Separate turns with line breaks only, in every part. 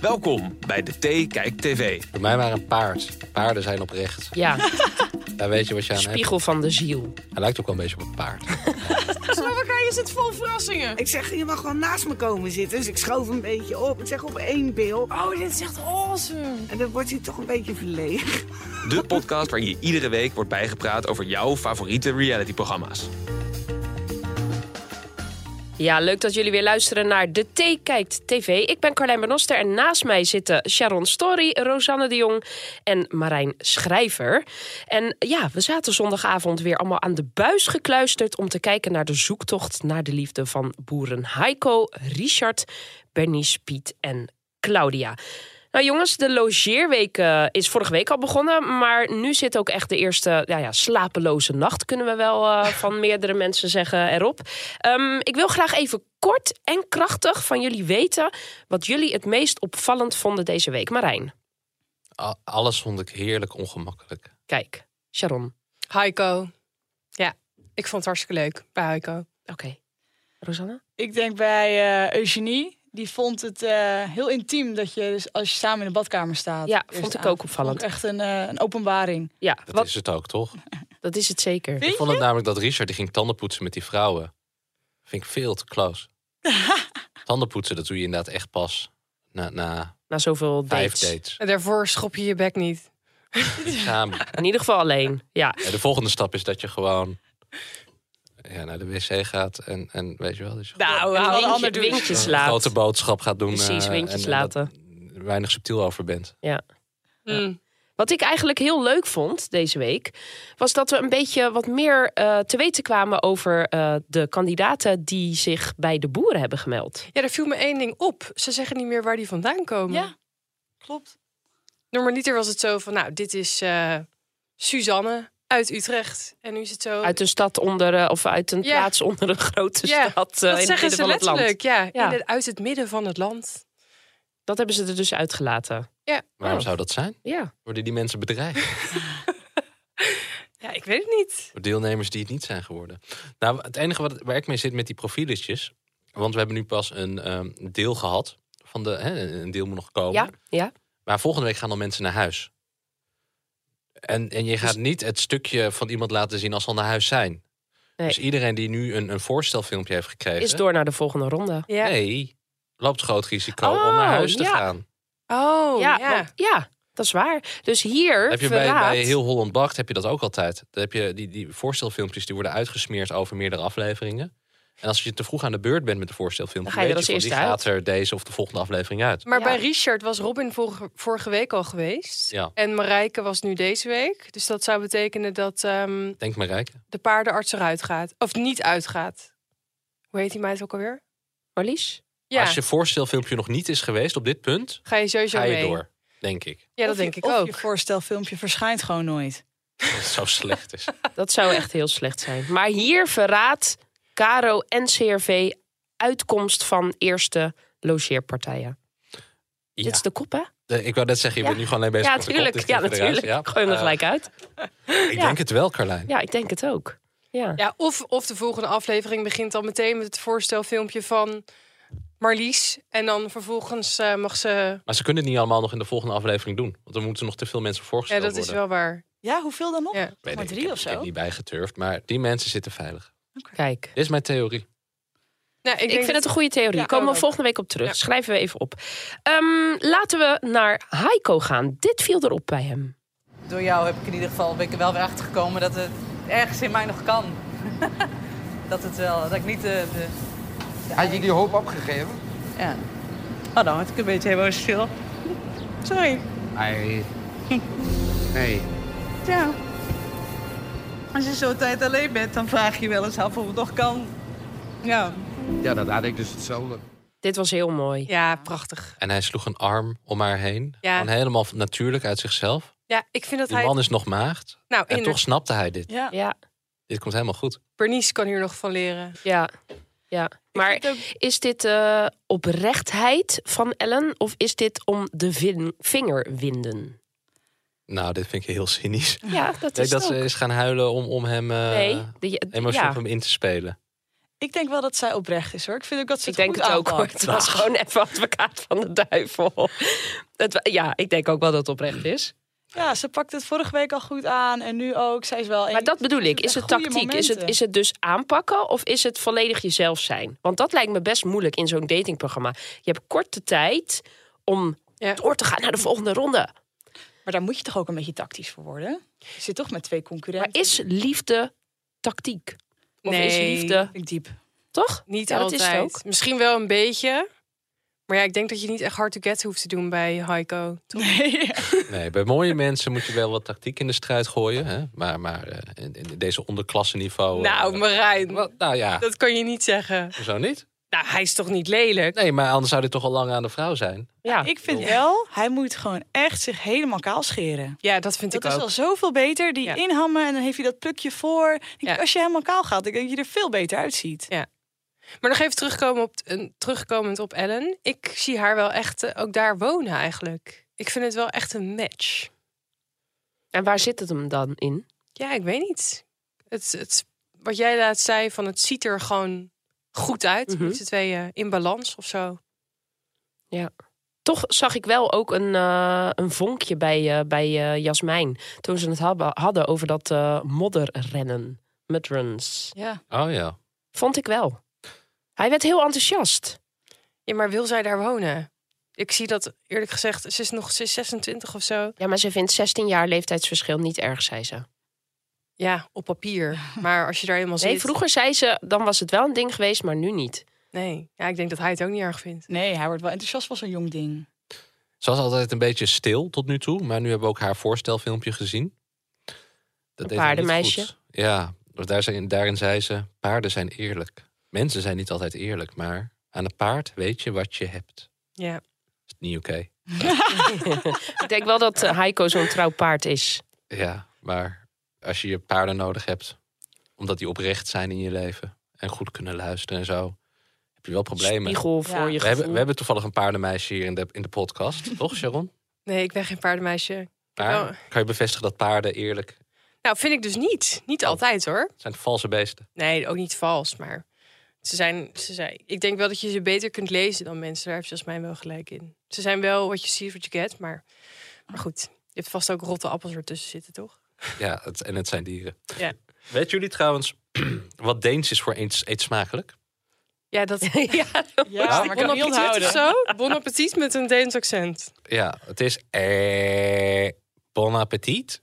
Welkom bij de T Kijk TV.
Voor mij maar een paard. Paarden zijn oprecht.
Ja,
Daar weet je wat je aan hebt.
spiegel van de ziel.
Hij lijkt ook wel een beetje op een paard.
Slowakije zit vol verrassingen.
Ik zeg, je mag gewoon naast me komen zitten. Dus ik schoof een beetje op. Ik zeg op één bil.
Oh, dit is echt awesome.
En dan wordt hij toch een beetje verlegen.
De podcast waarin je iedere week wordt bijgepraat over jouw favoriete realityprogramma's.
Ja, leuk dat jullie weer luisteren naar De T Kijkt TV. Ik ben Carlijn Benoster en naast mij zitten Sharon Story, Rosanne de Jong en Marijn Schrijver. En ja, we zaten zondagavond weer allemaal aan de buis gekluisterd... om te kijken naar de zoektocht naar de liefde van boeren Heiko, Richard, Bernice, Piet en Claudia. Nou jongens, de logeerweek eh, is vorige week al begonnen. Maar nu zit ook echt de eerste ja, ja, slapeloze nacht, kunnen we wel eh, van meerdere mensen zeggen, erop. Ehm, ik wil graag even kort en krachtig van jullie weten wat jullie het meest opvallend vonden deze week. Marijn,
Al- Alles vond ik heerlijk ongemakkelijk.
kijk. Sharon,
Heiko. Ja, ik vond het hartstikke leuk bij Heiko.
oké. Rosanne?
Ik denk bij eh, Eugenie. Die vond het eh, heel intiem dat je dus als je samen in de badkamer staat.
Ja,
Eerste
vond ik
avond.
ook opvallend.
Vond ik echt een, eh, een openbaring.
Ja,
Dat
wat,
is het ook, toch?
dat is het zeker.
Ik vond het namelijk dat Richard die ging tanden poetsen met die vrouwen. Vind ik veel te close. tanden poetsen, dat doe je inderdaad echt pas na, na
Na zoveel
vijf
dates.
dates.
En daarvoor schop je je bek niet.
Samen.
In ieder geval alleen, ja.
Ja, de volgende stap is dat je gewoon ja, naar de wc gaat en, en weet je wel. Dus
Nou,
hou-
een
ander
windje,
doen.
een
windjes
grote
laat.
boodschap gaat doen.
Precies,
eh,
windjes
en- en dat
laten.
er weinig subtiel over bent.
Mm.
Wat ik eigenlijk heel leuk vond deze week, was dat we een beetje wat meer eh, te weten kwamen over eh, de kandidaten die zich bij de boeren hebben gemeld.
Ja, er viel me één ding op. Ze zeggen niet meer waar die vandaan komen.
Ja, klopt.
Normaliter was het zo van, nou, dit is eh, Suzanne uit Utrecht. En nu is het zo...
Uit een stad onder, eh, of uit een
Ja.
plaats onder een grote
Ja,
stad eh,
dat
in het
zeggen
midden
ze
van het land.
letterlijk, ja.
Ja.
In het- uit het midden van het land.
Dat hebben ze er dus uitgelaten.
Waarom
Oh.
zou dat zijn?
Ja,
Worden die mensen bedreigd?
Ja, ik weet het niet.
Door deelnemers die het niet zijn geworden? Nou, het enige wat, waar ik mee zit met die profieletjes... want we hebben nu pas een ehm, deel gehad. Van de, hè, een deel moet nog komen.
ja, ja.
Maar volgende week gaan al mensen naar huis. En, en je
Dus-
gaat niet het stukje van iemand laten zien als ze al naar huis zijn.
Nee.
Dus iedereen die nu een, een voorstelfilmpje heeft gekregen...
Is door naar de volgende ronde.
Ja.
Nee, loopt groot risico
Oh,
om naar huis te
ja.
gaan.
Oh, ja.
ja, want- ja, dat is waar. Dus hier
Heb je bij,
verraadt-
bij Heel Holland Bakt heb je dat ook altijd. Dan heb je die, die voorstelfilmpjes die worden uitgesmeerd over meerdere afleveringen. En als je te vroeg aan de beurt bent met de voorstelfilmpje...
Dan ga je er
weet
als
van,
eerste
die gaat er deze of de volgende aflevering uit.
Maar
Ja.
bij Richard was Robin vorige, vorige week al geweest.
Ja.
En Marijke was nu deze week. Dus dat zou betekenen dat ehm,
Denk maar, Rijk.
de paardenarts eruit gaat. Of niet uitgaat. Hoe heet die meid ook alweer?
Marlies?
Ja,
Als je voorstelfilmpje nog niet is geweest op dit punt...
ga je sowieso
ga je
mee.
door, denk ik.
Ja, dat
Of je-
denk ik
of
ook.
je voorstelfilmpje verschijnt gewoon nooit.
Dat het zo slecht is.
Dat zou echt heel slecht zijn. Maar hier verraadt Caro en CRV uitkomst van eerste logeerpartijen.
Ja.
Dit is de kop, hè?
Eh, Ik wou net zeggen, je
Ja.
bent nu gewoon alleen bezig
Ja,
met de kop,
natuurlijk.
dus
Ja,
dit eruit.
natuurlijk.
Ja.
Gooi hem er
Eh,
gelijk uit.
Ik
Ja.
denk het wel, Carlijn.
Ja, ik denk het ook. Ja.
Ja, of, of de volgende aflevering begint al meteen met het voorstelfilmpje van Marlies. En dan vervolgens eh, mag ze...
Maar ze kunnen het niet allemaal nog in de volgende aflevering doen. Want dan moeten nog te veel mensen
Ja,
voorgesteld
dat is
worden.
wel waar.
Ja, hoeveel dan nog?
Ja.
Weet ik,
maar
ik
drie
heb-
of
Ik heb
zo.
niet bijgeturfd, maar die mensen zitten veilig.
Kijk.
Dit is mijn theorie.
Nou,
Ik,
ik, denk
vind
dat-
het een goede theorie.
Ja,
Komen
ook
we
ook.
volgende week op terug. Schrijven we even op. Ehm, laten we naar Heiko gaan. Dit viel erop bij hem.
Door jou heb ik in ieder geval ben ik er wel weer achter gekomen dat het ergens in mij nog kan. dat het wel, dat ik niet de. de
Had je die hoop opgegeven?
ja. Oh, dan word ik een beetje emotioneel. Sorry.
Nee. Nee.
Ja. Als je zo'n tijd alleen bent, dan vraag je je wel eens af of het nog kan. Ja.
Ja, dat had ik dus hetzelfde.
Dit was heel mooi.
Ja, prachtig.
En hij sloeg een arm om haar heen.
Ja.
Gewoon helemaal natuurlijk uit zichzelf.
Ja, ik vind dat
Die
hij...
man is nog maagd.
Nou,
En
inderdaad.
toch snapte hij dit.
Ja.
Ja,
Dit komt helemaal goed.
Bernice kan hier nog van leren.
ja, ja. Maar
vind het ook-
is dit eh, oprechtheid van Ellen of is dit om de vin- vinger winden?
Nou, dit vind ik heel cynisch.
Ja, dat
Nee,
is
dat
het
ze
ook.
is gaan huilen om, om hem eh
Nee, de-
emotioneel
ja.
op hem in te spelen.
Ik denk wel dat zij oprecht is hoor. Ik vind ook dat ze
Ik
het
denk
goed
het ook hoor.
aanpakt.
Het was gewoon even advocaat van de duivel. Het, wa- ja, ik denk ook wel dat het oprecht is.
Ja, ze pakt het vorige week al goed aan en nu ook. Zij is wel
Maar dat bedoel ik. Is het
echt goede
tactiek? Is het,
momenten.
is het dus aanpakken of is het volledig jezelf zijn? Want dat lijkt me best moeilijk in zo'n datingprogramma. Je hebt korte tijd om
Ja.
door te gaan naar de volgende ronde.
Maar daar moet je toch ook een beetje tactisch voor worden? Je zit toch met twee
Maar
concurrenten.
is liefde tactiek? Of is
Nee.
liefde
Ik diep.
toch?
Niet
Ja, dat is
altijd.
het ook.
Misschien wel een beetje. Maar ja, ik denk dat je niet echt hard to get hoeft te doen bij Heiko.
Nee.
Nee, bij mooie mensen moet je wel wat tactiek in de strijd gooien. Hè? Maar, maar eh, in, in deze onderklasseniveau... eh,
Nou, Marijn,
wat- nou ja,
dat kan je niet zeggen.
zo niet.
Nou, hij is toch niet lelijk?
Nee, maar anders zou dit toch al lang aan de vrouw zijn.
Ja.
Ik vind wel, hij moet gewoon echt zich helemaal kaal scheren.
Ja, dat vind
Dat
ik
is
ook.
al zoveel beter. Die
Ja.
inhammen en dan heeft hij dat plukje voor. Ik denk,
Ja.
Als je helemaal kaal gaat, ik denk dat je er veel beter uitziet.
Maar nog even terugkomen op, en terugkomend op Ellen. Ik zie haar wel echt eh, ook daar wonen eigenlijk. Ik vind het wel echt een match.
En waar zit het hem dan in?
Ja, ik weet niet. Het, het, wat jij laat zei, van het ziet er gewoon goed uit.
Mhm.
Met z'n tweeën in balans of zo.
Toch zag ik wel ook een, eh, een vonkje bij, eh, bij eh, Jasmijn. Toen ze het hadden- hadden over dat eh, modderrennen. Mudruns.
Ja.
Oh ja.
Vond ik wel. Hij werd heel enthousiast.
Ja, maar wil zij daar wonen? Ik zie dat eerlijk gezegd, ze is nog ze is 26 of zo.
Ja, maar ze vindt 16 jaar leeftijdsverschil niet erg, zei ze.
Ja, op papier. Maar als je daar helemaal
Nee,
zit...
vroeger zei ze, dan was het wel een ding geweest, maar nu niet.
Nee, ja, ik denk dat hij het ook niet erg vindt.
Nee, hij wordt wel enthousiast van zo'n jong ding.
Ze was altijd een beetje stil tot nu toe. Maar nu hebben we ook haar voorstelfilmpje gezien. Dat
Een
deed haar niet
paardenmeisje.
goed. Ja, want daar zijn, daarin zei ze... Paarden zijn eerlijk. Mensen zijn niet altijd eerlijk. Maar aan een paard weet je wat je hebt.
Ja.
Is het niet oké?
Ik denk wel dat eh, Heiko zo'n trouw paard is.
Ja, maar als je je paarden nodig hebt, omdat die oprecht zijn in je leven en goed kunnen luisteren en zo, heb je wel problemen.
Spiegel voor je
Ja.
We
gevoel.
hebben, we hebben toevallig een paardenmeisje hier in de, in de podcast, toch Sharon?
Nee, ik ben geen paardenmeisje. wel-
Maar kan je bevestigen dat paarden eerlijk
Nou, vind ik dus niet. Niet altijd hoor.
zijn valse beesten?
Nee, ook niet vals, maar ze zijn, ze zijn... Ik denk wel dat je ze beter kunt lezen dan mensen. Daar heb je als mij wel gelijk in. Ze zijn wel wat je ziet, wat je get, maar, maar goed. Je hebt vast ook rotte appels ertussen zitten, toch?
Ja, het, en het zijn dieren.
Ja.
Weet jullie trouwens wat Deens is voor eens, eetsmakelijk?
Ja, dat...
ja,
Ja,
Nou,
maar
Bon
kan niet
appetit of
onthouden.
zo? Bon appetit met een Deens accent.
Ja, het is eh, bon appetit.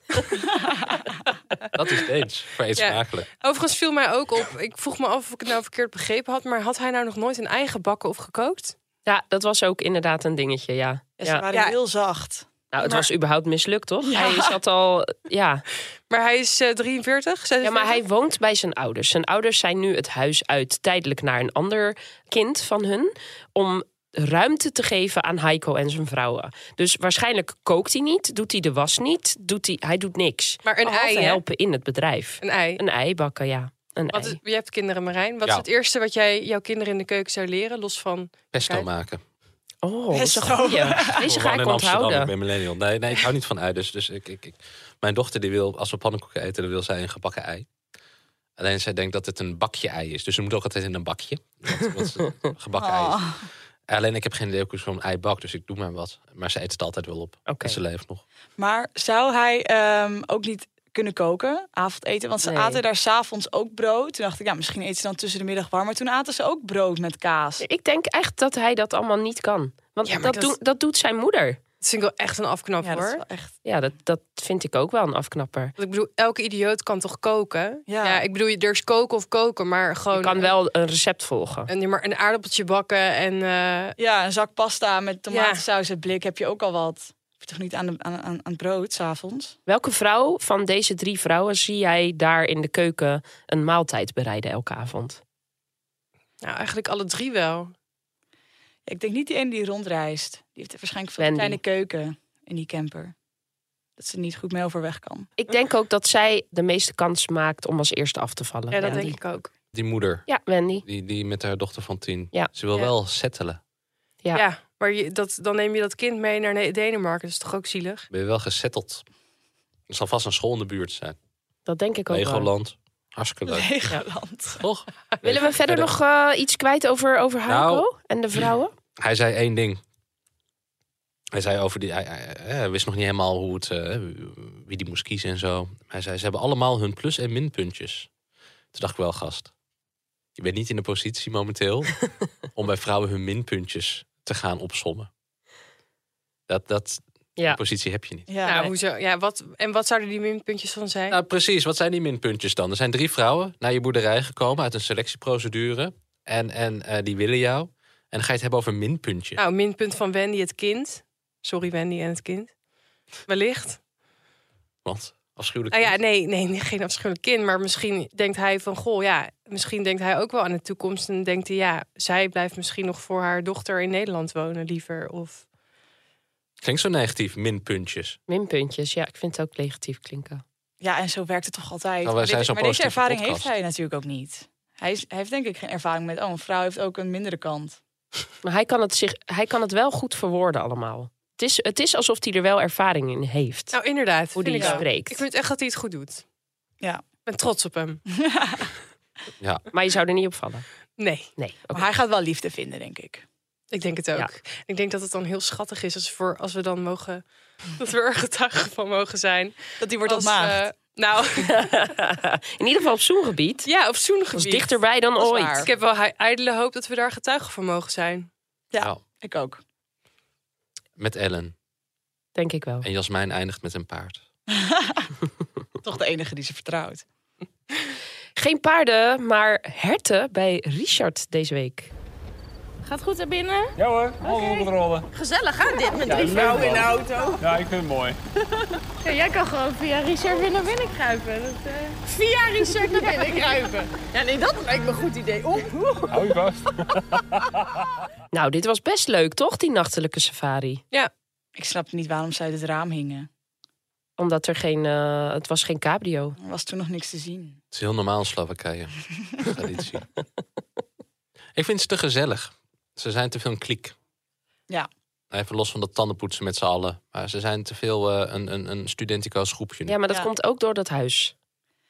dat is Deens voor eetsmakelijk.
Overigens viel mij ook op... Ik vroeg me af of ik het nou verkeerd begrepen had... maar had hij nou nog nooit een eigen bakken of gekookt?
ja, dat was ook inderdaad een dingetje, ja.
Ja, ze
Ja.
waren
Ja.
heel zacht.
Nou, het
Maar-
was überhaupt mislukt, toch? Hij zat al... Ja.
Maar hij is eh, 43,
ja, maar hij woont bij zijn ouders. Zijn ouders zijn nu het huis uit tijdelijk naar een ander kind van hun... om ruimte te geven aan Heiko en zijn vrouwen. Dus waarschijnlijk kookt hij niet, doet hij de was niet, doet hij, hij doet niks.
Maar een
Behalve
ei, hè?
helpen in het bedrijf.
Een ei.
Een ei bakken, ja. Een
Wat
ei.
is, je hebt kinderen, Marijn. Wat
Ja.
is het eerste wat jij jouw kinderen in de keuken zou leren? Los van
Pesto
Kijk.
maken.
Oh, dat is een
Pesto.
goeie. Deze
Ik
ga
woon in Amsterdam,
ik
ik
onthouden.
ben millennial. Nee, nee, ik hou niet van ei. Dus, dus ik, ik, ik- mijn dochter, die wil, als we pannenkoeken eten, dan wil zij een gebakken ei. Alleen zij denkt dat het een bakje ei is. Dus ze moet ook altijd in een bakje. Want, want ze- gebakken ei is.
Oh.
Alleen ik heb geen idee hoe ik zo'n ei bak, dus ik doe maar wat. Maar ze eet het altijd wel op.
Oké.
En ze leeft nog.
Maar zou hij ehm, ook niet kunnen koken, avondeten? Want ze
Nee.
aten daar s'avonds ook brood. Toen dacht ik, ja, misschien eten ze dan tussen de middag warm. Maar toen aten ze ook brood met kaas.
Ik denk echt dat hij dat allemaal niet kan. Want
Ja, maar
dat,
dat-
doet- dat doet zijn moeder.
het single echt een afknap
Ja, dat is
hoor.
wel echt...
Ja, dat, dat vind ik ook wel een afknapper.
Want ik bedoel, elke idioot kan toch koken?
Ja.
ik bedoel, er is koken of koken, maar gewoon.
Je kan wel een recept volgen.
Een, maar een aardappeltje bakken en. eh,
Ja, een zak pasta met tomatensaus en blik heb je ook al wat. Heb je toch niet aan, de, aan, aan, aan het brood s'avonds?
Welke vrouw van deze drie vrouwen zie jij daar in de keuken een maaltijd bereiden elke avond?
nou, eigenlijk alle drie wel.
Ja, ik denk niet die ene die rondreist. Die heeft waarschijnlijk veel
Wendy.
kleine keuken in die camper. Dat ze er niet goed mee overweg kan.
Ik denk ook dat zij de meeste kans maakt om als eerste af te vallen.
Ja, dat
Wendy.
denk ik ook.
Die moeder,
Ja, Wendy.
die, die met haar dochter van tien.
Ja.
Ze wil
Ja.
wel settelen.
Ja.
Ja, maar je, dat, dan neem je dat kind mee naar Ne- Denemarken. Dat is toch ook zielig?
Ben je wel gesetteld? Er zal vast een school in de buurt zijn.
Dat denk ik ook wel.
Legoland. Hartstikke leuk.
Legoland.
Toch?
Willen we verder nog eh, iets kwijt over, over Hanko
Nou.
en de vrouwen?
Hij zei één ding. Hij zei over die. Hij, hij- hij wist nog niet helemaal hoe het, eh, wie die moest kiezen en zo. Hij zei: ze hebben allemaal hun plus- en minpuntjes. Toen dacht ik wel, gast. Je bent niet in de positie momenteel om bij vrouwen hun minpuntjes te gaan opsommen. Dat, dat
Ja.
die positie heb je niet.
Ja,
Nou, hoezo? Ja, wat, en wat zouden die minpuntjes van zijn?
Nou, precies. Wat zijn die minpuntjes dan? Er zijn drie vrouwen naar je boerderij gekomen uit een selectieprocedure. En, en eh, die willen jou. En dan ga je het hebben over minpuntje.
Nou, minpunt van Wendy het kind. Sorry, Wendy en het kind. Wellicht.
Want afschuwelijk.
Ah ja, nee, nee, nee, geen afschuwelijk kind. Maar misschien denkt hij van, goh, ja, misschien denkt hij ook wel aan de toekomst. En denkt hij, ja, zij blijft misschien nog voor haar dochter in Nederland wonen liever. Of
Klinkt zo negatief, minpuntjes.
Minpuntjes, ja, ik vind het ook negatief klinken.
ja, en zo werkt het toch altijd.
Nou, wij
maar
zijn zo'n
maar deze
positieve
ervaring
podcast.
heeft hij natuurlijk ook niet. Hij, is, hij heeft denk ik geen ervaring met, oh, een vrouw heeft ook een mindere kant.
Maar hij kan het, zich, hij kan het wel goed verwoorden allemaal. Het is, het is alsof hij er wel ervaring in heeft.
Nou, inderdaad.
Hoe
vind
die
ik ook.
spreekt.
Ik vind echt dat hij het goed doet.
Ja.
Ik ben trots op hem.
Maar je zou er niet op vallen.
Nee,
Nee, oké.
Maar hij gaat wel liefde vinden, denk ik.
ik denk het ook.
Ja.
Ik denk dat het dan heel schattig is als, voor, als we dan mogen... dat we er getuige van mogen zijn.
Dat die wordt
als,
ontmaagd.
eh, nou,
in ieder geval op zoengebied.
ja, op zo'n
Dat
gebied.
is dichterbij dan
Dat is
ooit.
waar. Ik heb wel hij- ijdele hoop dat we daar getuige van mogen zijn.
Ja.
Nou,
Ik ook.
met Ellen.
Denk ik wel.
En Jasmijn eindigt met een paard.
Toch de enige die ze vertrouwt.
Geen paarden, maar herten bij Richard deze week.
Gaat goed naar binnen?
Ja hoor, alles onder controle.
Gezellig aan dit met drie
vrouwen in de auto. Ja, ik vind het mooi.
Ja, jij kan gewoon via Richard weer naar binnen kruipen. Dat, eh, Via Richard naar binnen kruipen. Ja, nee, dat lijkt me een goed idee. Oeh.
Hou je vast.
Nou, dit was best leuk, toch? Die nachtelijke safari.
Ik snap niet waarom ze uit het raam hingen.
Omdat er geen... eh, het was geen cabrio.
Er was toen nog niks te zien.
Het is heel normaal in Slowakije. Traditie. Ik vind ze te gezellig. Ze zijn te veel een kliek.
Ja.
Even los van dat tandenpoetsen met z'n allen. Maar ze zijn te veel eh, een, een, een studentico's groepje.
Ja, maar dat
Ja.
komt ook door dat huis.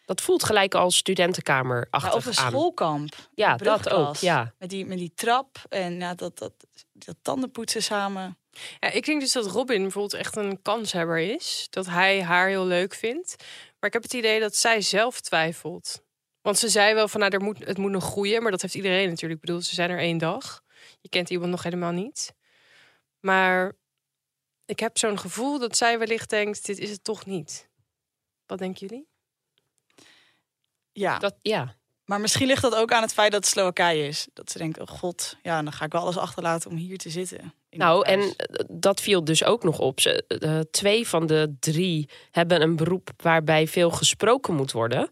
Dat voelt gelijk als
Ja, of een
studentenkamerachtig aan.
schoolkamp.
Ja, dat
brugklas.
ook, ja.
Met die, met die trap en ja, dat, dat, dat tandenpoetsen samen.
Ja, ik denk dus dat Robin bijvoorbeeld echt een kanshebber is. Dat hij haar heel leuk vindt. Maar ik heb het idee dat zij zelf twijfelt. Want ze zei wel van, nou, er moet, het moet nog groeien. Maar dat heeft iedereen natuurlijk. Ik bedoel, ze zijn er één dag. Je kent iemand nog helemaal niet. Maar ik heb zo'n gevoel dat zij wellicht denkt, dit is het toch niet. Wat denken jullie?
Ja.
Dat, ja.
Maar misschien ligt dat ook aan het feit dat het Slowakije is. Dat ze denkt, oh god, ja, dan ga ik wel alles achterlaten om hier te zitten. in
Nou,
dit
en
huis.
eh, dat viel dus ook nog op. Ze, eh, twee van de drie hebben een beroep waarbij veel gesproken moet worden.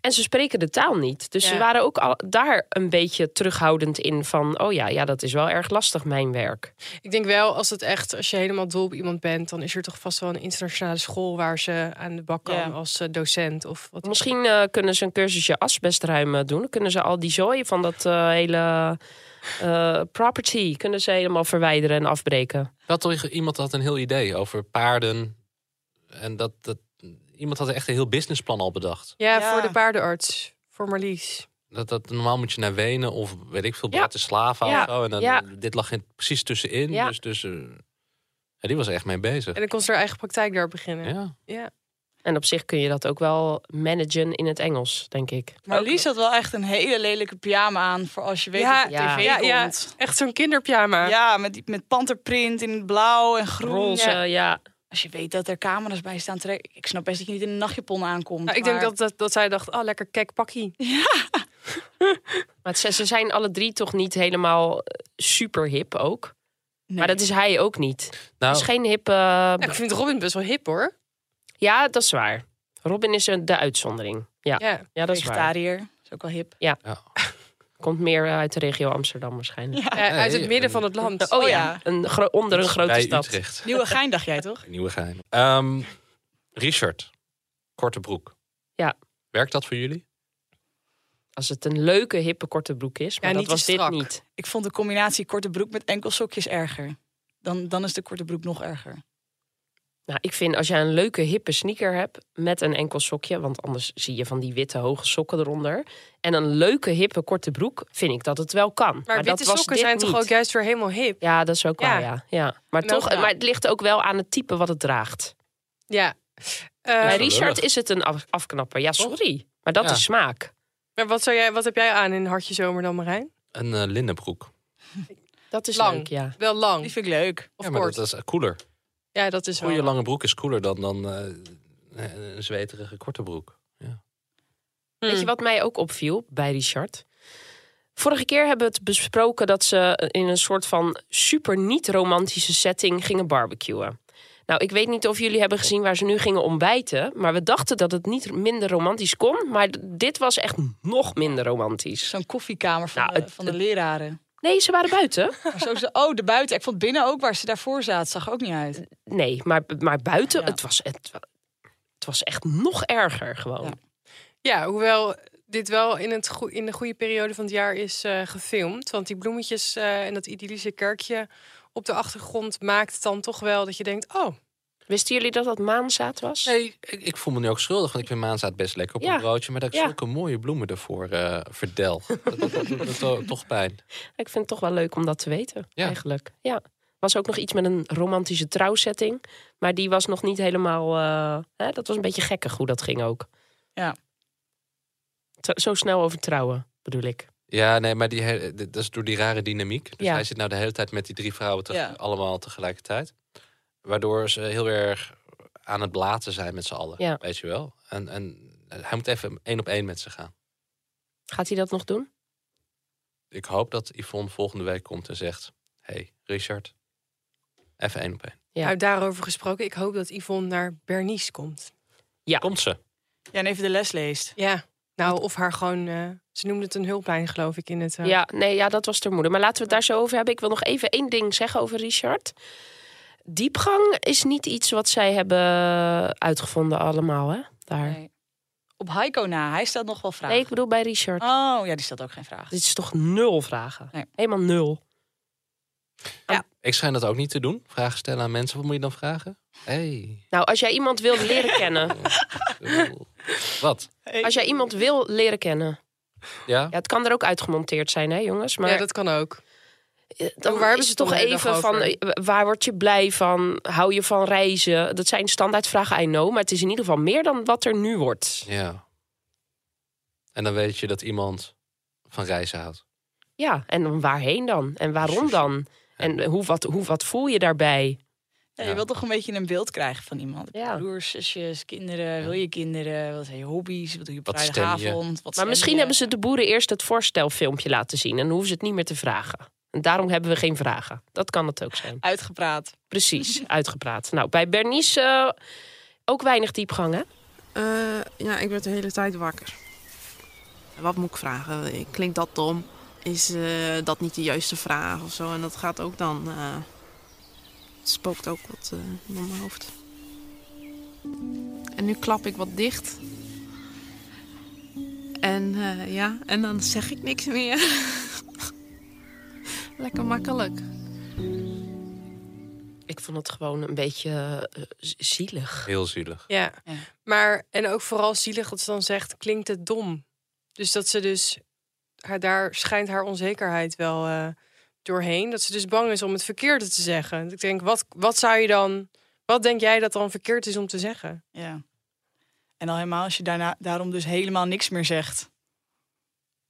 En ze spreken de taal niet. Dus
Ja.
ze waren ook al, daar een beetje terughoudend in van... oh ja, ja, dat is wel erg lastig, mijn werk.
Ik denk wel, als het echt, als je helemaal dol op iemand bent, dan is er toch vast wel een internationale school waar ze aan de bak kan
Ja.
als eh, docent of wat.
Misschien eh, kunnen ze een cursusje asbest ruimen doen. Dan kunnen ze al die zooi van dat eh, hele eh, property... kunnen ze helemaal verwijderen en afbreken.
Dat toch iemand had een heel idee over paarden. En dat, dat iemand had echt een heel businessplan al bedacht.
Ja,
Ja.
voor de paardenarts, voor Marlies.
Dat, dat normaal moet je naar Wenen of weet ik veel,
Ja.
Bratislava
Ja.
of zo. En dan,
Ja.
dit lag in- precies tussenin.
Ja.
Dus, dus eh, ja, die was er echt mee bezig.
En dan kon ze haar eigen praktijk daar beginnen. Ja.
Ja.
En op zich kun je dat ook wel managen in het Engels, denk ik.
Maar Lies had wel echt een hele lelijke pyjama aan voor als je weet
Ja,
dat je op tv
Ja, ja,
komt.
echt zo'n kinderpyjama.
Ja, met, die- met panterprint in het blauw en groen.
Roze,
Ja.
ja.
Als je weet dat er camera's bij staan, trek, ik snap best dat je niet in een nachtjapon aankomt.
Nou, ik denk
maar-
dat, dat, dat zij dacht, oh, lekker kek pakkie.
Maar het- ze, ze zijn alle drie toch niet helemaal eh, super hip ook.
Nee.
Maar dat is hij ook niet.
Nou,
Het is geen hip... eh,
Nou, ik vind Robin best wel hip hoor.
Ja, dat is waar. Robin is een, de uitzondering. Ja,
Ja.
ja dat is waar.
vegetariër. is ook wel hip.
Komt meer eh, uit de regio Amsterdam waarschijnlijk.
Ja, uit het
hey,
midden
eh,
van het land.
Oh
Oh
ja,
ja.
een gro- onder een grote
bij
stad.
Utrecht.
Nieuwe gein dacht jij toch?
Nieuwe geheim. Ehm, Richard, korte broek.
Ja.
Werkt dat voor jullie?
Als het een leuke, hippe, korte broek is. Maar
Ja,
dat
niet te
was dit
strak.
niet.
Ik vond de combinatie korte broek met enkel sokjes erger. Dan, dan is de korte broek nog erger.
Nou, ik vind als jij een leuke hippe sneaker hebt met een enkel sokje, want anders zie je van die witte hoge sokken eronder. En een leuke hippe korte broek, vind ik dat het wel kan.
Maar, witte
dat was
sokken
dit
zijn toch
niet.
ook juist weer helemaal hip?
Ja, dat is ook
Ja.
waar, ja. ja. Maar,
Nou,
toch,
ja.
maar het ligt ook wel aan het type wat het draagt.
Ja.
Bij
Eh,
Richard is het een af- afknapper. Ja, sorry. Maar dat
Ja.
is smaak.
maar wat, zou jij, wat heb jij aan in Hartje Zomer dan, Marijn?
Een eh, linnenbroek.
Dat is
Lang. Mm.
leuk, ja.
Wel lang.
Die vind ik leuk.
Of
ja, maar
kort.
dat is eh, cooler.
Ja, dat is wel.
Goede lange broek is cooler dan, dan eh, een zweterige korte broek.
Weet je wat mij ook opviel bij Richard? Vorige keer hebben we het besproken dat ze in een soort van super niet-romantische setting gingen barbecuen. Nou, ik weet niet of jullie hebben gezien waar ze nu gingen ontbijten. Maar we dachten dat het niet minder romantisch kon. Maar d- dit was echt nog minder romantisch.
Zo'n koffiekamer van,
Nou,
de,
het-
van de leraren.
Nee, ze waren buiten.
Maar zo, ze- oh, de buiten. Ik vond binnen ook waar ze daarvoor zaten. Zag er ook niet uit.
Nee, maar, maar buiten,
Ja.
het, was, het, wa- het was echt nog erger gewoon.
Ja.
Ja, hoewel dit wel in, het goe- in de goede periode van het jaar is eh, gefilmd. Want die bloemetjes eh, en dat idyllische kerkje op de achtergrond maakt het dan toch wel dat je denkt... oh,
Wisten jullie dat dat maanzaad was?
Nee, ik, ik voel me nu ook schuldig, want ik vind maanzaad best lekker op
Ja.
een broodje. Maar dat ik
Ja.
zulke mooie bloemen ervoor eh verdel. dat, dat, dat doet to- toch pijn.
Ik vind het toch wel leuk om dat te weten,
Ja.
eigenlijk. Ja. Was ook nog iets met een romantische trouwsetting. Maar die was nog niet helemaal... eh, hè? Dat was een beetje gekkig hoe dat ging ook.
Ja.
Zo, zo snel over trouwen, bedoel ik.
Ja, nee, maar die, he- d- dat is door die rare dynamiek. Dus
Ja.
hij zit nou de hele tijd met die drie vrouwen teg-
Ja.
allemaal tegelijkertijd. Waardoor ze heel erg aan het blaten zijn met z'n allen,
Ja.
weet je wel. En, en hij moet even één op één met ze gaan.
Gaat hij dat nog doen?
Ik hoop dat Yvonne volgende week komt en zegt... hey, Richard, even één op één.
Ja.
nou, daarover gesproken. Ik hoop dat Yvonne naar Bernice komt.
Komt ze?
Ja, en even de les leest.
Ja, nou, of haar gewoon... eh, ze noemde het een hulplijn, geloof ik, in het... eh,
Ja, nee, ja, dat was de moeder. Maar laten we het daar zo over hebben. Ik wil nog even één ding zeggen over Richard. Diepgang is niet iets wat zij hebben uitgevonden allemaal, hè? Daar. Nee,
Nee. Op Heiko na. Hij stelt nog wel vragen.
ik bedoel bij Richard.
Oh, ja, die stelt ook geen vraag.
Dit is toch nul vragen?
Nee.
Helemaal nul.
Ik schijn dat ook niet te doen. Vragen stellen aan mensen. Wat moet je dan vragen? Hé.
Nou, als jij iemand wil leren kennen.
eh, Wat?
Als jij iemand wil leren kennen.
Ja?
Ja, het kan er ook uitgemonteerd zijn, hè, jongens. Maar
ja, dat kan ook.
eh, dan
Oh, waar
is
hebben
het
ze het
toch
dan de hele
even
dag
van...
over?
eh, Waar word je blij van? Hou je van reizen? Dat zijn standaardvragen, I know. Maar het is in ieder geval meer dan wat er nu wordt.
Ja. En dan weet je dat iemand van reizen houdt.
Ja, en dan waarheen dan? En waarom dan? En hoe, wat, hoe, wat voel je daarbij?
Ja,
Ja.
Je wilt toch een beetje een beeld krijgen van iemand.
Ja.
Broers, zusjes, kinderen. Wil je kinderen? Wat zijn je hobby's? Wat doe je op
Wat stem je?
vrijdagavond? Wat
Maar
stem
misschien
je?
hebben ze de boeren eerst het voorstelfilmpje laten zien. En hoeven ze het niet meer te vragen. En daarom hebben we geen vragen. Dat kan het ook zijn.
Uitgepraat.
Precies, uitgepraat. Nou, bij Bernice eh, ook weinig diepgang, hè?
Eh, ja, ik werd de hele tijd wakker. Wat moet ik vragen? Klinkt dat dom? Is eh, dat niet de juiste vraag of zo? En dat gaat ook dan. eh, het spookt ook wat eh, door mijn hoofd. En nu klap ik wat dicht. En eh, ja, en dan zeg ik niks meer. Lekker makkelijk.
Ik vond het gewoon een beetje eh, z- zielig.
Heel zielig.
Ja.
Ja.
maar en ook vooral zielig dat ze dan zegt, klinkt het dom. Dus dat ze dus, haar, daar schijnt haar onzekerheid wel eh, doorheen. Dat ze dus bang is om het verkeerde te zeggen. Ik denk, wat, wat zou je dan, wat denk jij dat dan verkeerd is om te zeggen?
Ja. En al helemaal als je daarna, daarom dus helemaal niks meer zegt.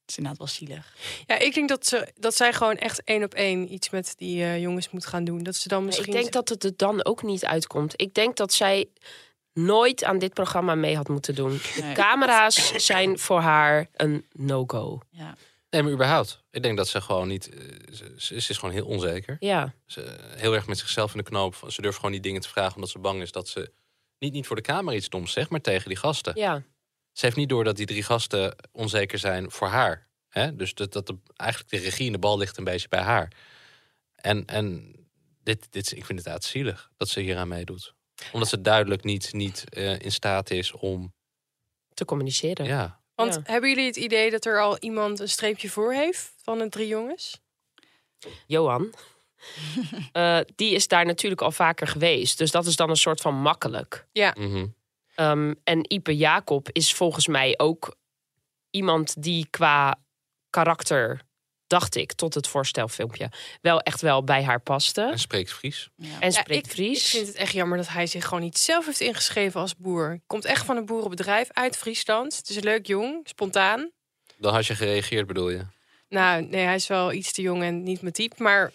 Het is inderdaad wel zielig.
Ja, ik denk dat, ze, dat zij gewoon echt één op één iets met die eh, jongens moet gaan doen. Dat ze dan
Maar
misschien...
Ik denk dat het er dan ook niet uitkomt. Ik denk dat zij nooit aan dit programma mee had moeten doen. De
Nee.
camera's zijn voor haar een no-go.
Ja.
Nee, maar überhaupt. Ik denk dat ze gewoon niet... eh, Ze, ze- ze is gewoon heel onzeker.
Ja,
Ze, eh, heel erg met zichzelf in de knoop. van- Ze durft gewoon die dingen te vragen omdat ze bang is dat ze... Niet, niet voor de camera iets doms zegt, maar tegen die gasten.
ja.
Ze heeft niet door dat die drie gasten onzeker zijn voor haar. Hè? Dus dat, dat de- eigenlijk de regie in de bal ligt een beetje bij haar. En, en dit, dit, is- ik vind het inderdaad zielig dat ze hieraan meedoet. Omdat ze duidelijk niet, niet eh, in staat is om...
te communiceren.
Ja,
Want
Ja.
hebben jullie het idee dat er al iemand een streepje voor heeft van de drie jongens?
Johan, eh, die is daar natuurlijk al vaker geweest. Dus dat is dan een soort van makkelijk.
Ja.
mhm.
Ehm, en Ipe Jacob is volgens mij ook iemand die qua karakter, dacht ik, tot het voorstelfilmpje, wel echt wel bij haar paste.
En spreekt Fries.
En
Ja,
spreekt
ik,
Fries.
Ik vind het echt jammer dat hij zich gewoon niet zelf heeft ingeschreven als boer. Komt echt van een boerenbedrijf uit Friesland. Het is leuk jong, spontaan.
Dan had je gereageerd, bedoel je?
Nou, nee, hij is wel iets te jong en niet mijn type. Maar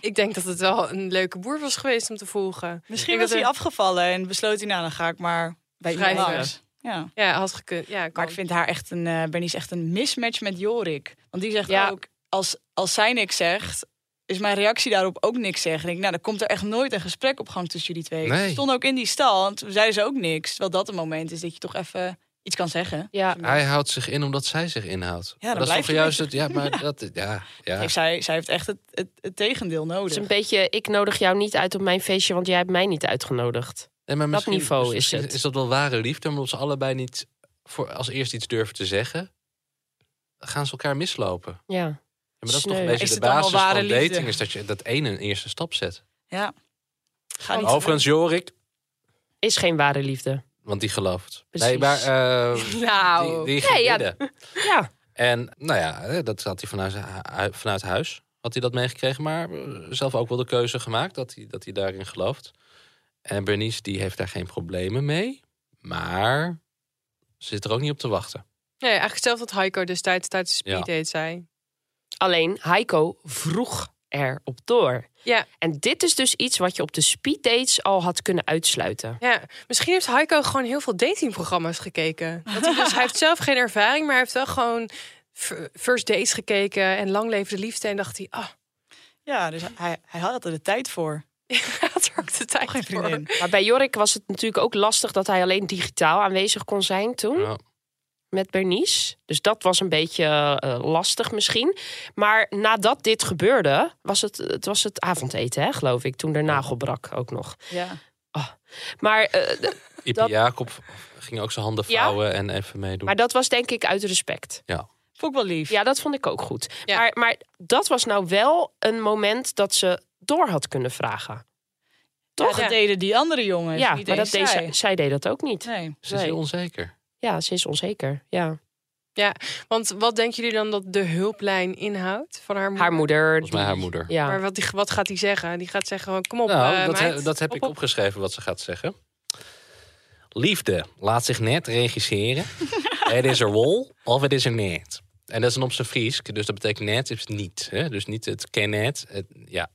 ik denk dat het wel een leuke boer was geweest om te volgen.
Misschien
Ik denk
was
dat
hij
er-
afgevallen en besloot hij, nou, dan ga ik maar bij iemand
Schrijven.
anders. Ja.
Ja, had gekund. Ja,
maar ik vind haar echt een, eh Bernie is echt een mismatch met Jorik. Want die zegt
Ja.
ook, als, als zij niks zegt, is mijn reactie daarop ook niks zeggen. Ik denk, nou, dan komt er echt nooit een gesprek op gang tussen jullie twee.
Nee.
Ze stonden ook in die stal en toen zeiden ze ook niks. Terwijl dat een moment is dat je toch even iets kan zeggen.
Ja.
Hij houdt zich in omdat zij zich inhoudt.
dan
dat is
blijf
toch
je
juist
met-
het... Ja, maar dat... Ja, ja.
Heeft zij, zij heeft echt het, het, het tegendeel
Het is
nodig.
een beetje, ik nodig jou niet uit op mijn feestje, want jij hebt mij niet uitgenodigd.
Nee, maar
dat
misschien-
niveau
dus
is
misschien
het.
Is dat wel ware liefde, maar omdat ze allebei niet voor als eerst iets durven te zeggen, gaan ze elkaar mislopen. Ja,
Ja.
maar dat is toch
Sneu.
een
Is
beetje de
het dan wel
basis
ware
van
liefde?
dating, is dat je dat ene een eerste stap zet.
Ja. Ga niet
Overigens, Jorik,
Is geen ware liefde.
want die gelooft.
Precies.
Nee, maar eh,
Nou.
die, die ging
Nee, ja.
bidden.
Ja.
En nou ja, eh, dat had hij vanuit, hu- vanuit huis. Had hij dat meegekregen, maar eh, zelf ook wel de keuze gemaakt dat hij, dat hij daarin gelooft. En Bernice, die heeft daar geen problemen mee. Maar ze zit er ook niet op te wachten.
Nee, eigenlijk zelf dat Heiko destijds tijdens de speeddate zei.
Alleen Heiko vroeg erop door.
Ja.
En dit is dus iets wat je op de speeddates al had kunnen uitsluiten.
Ja, misschien heeft Heiko gewoon heel veel datingprogramma's gekeken. Dat hij, dus, hij heeft zelf geen ervaring, maar hij heeft wel gewoon fir- first dates gekeken en lang leefde liefde. En dacht hij, ah,
Ja, dus hij, hij had er de tijd voor.
hij had er ook de tijd
Geen
voor.
vriendin.
Maar bij Jorik was het natuurlijk ook lastig dat hij alleen digitaal aanwezig kon zijn toen.
Ja.
Met Bernice. Dus dat was een beetje eh, lastig misschien. Maar nadat dit gebeurde, was het, het, was het avondeten, hè, geloof ik. Toen er nagel brak ook nog.
Ja.
Maar, eh, d-
Ipe
Dat-
Jacob ging ook zijn handen
Ja?
vouwen en even meedoen.
maar dat was denk ik uit respect.
Ja.
Vond ik wel lief.
Ja, dat vond ik ook goed.
Ja.
Maar, maar dat was nou wel een moment dat ze door had kunnen vragen. Toch?
Ja,
Ja,
dat deden die andere jongens. niet
maar dat
eens
deed
zij.
zij, zij deed dat ook niet.
Nee.
Ze is
Nee.
heel onzeker.
Ja, ze is onzeker. Ja.
Want wat denken jullie dan dat de hulplijn inhoudt van haar moeder?
Haar moeder.
Volgens mij
die-
haar moeder.
Ja.
Maar wat, die, wat gaat hij zeggen? Die gaat zeggen, gewoon, kom op
nou,
eh,
dat,
meid.
he- dat heb
Op,
ik
op.
opgeschreven wat ze gaat zeggen. Liefde laat zich net regisseren. het is er wol of het is er net. En dat is een op zijn Fries, dus dat betekent net is niet. Hè? Dus niet het ken net. het- ja.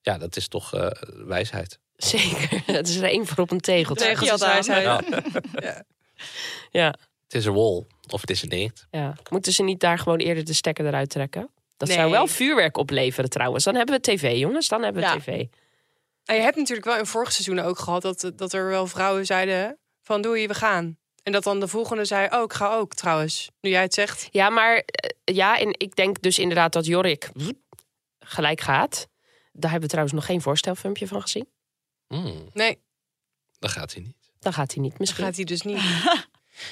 ja, dat is toch eh, wijsheid.
Zeker. Het is er één voor op een tegeltje.
Tegel.
Tegeltjes,
had aan.
hij zei.
Ja.
Ja,
Het is er wol of het is er net.
ja. Moeten ze niet daar gewoon eerder de stekker eruit trekken? Dat
Nee.
zou wel vuurwerk opleveren trouwens. Dan hebben we tv, jongens. Dan hebben we
Ja.
tv.
En je hebt natuurlijk wel in vorig seizoen ook gehad dat, dat er wel vrouwen zeiden van doei, we gaan. En dat dan de volgende zei, oh, ik ga ook trouwens. Nu jij het zegt.
Ja, maar eh, ja, en ik denk dus inderdaad dat Jorik woep, gelijk gaat. Daar hebben we trouwens nog geen voorstelfilmpje van gezien.
Hmm,
Nee,
dat gaat hij niet.
Dan gaat hij niet
dat
misschien.
gaat hij dus niet.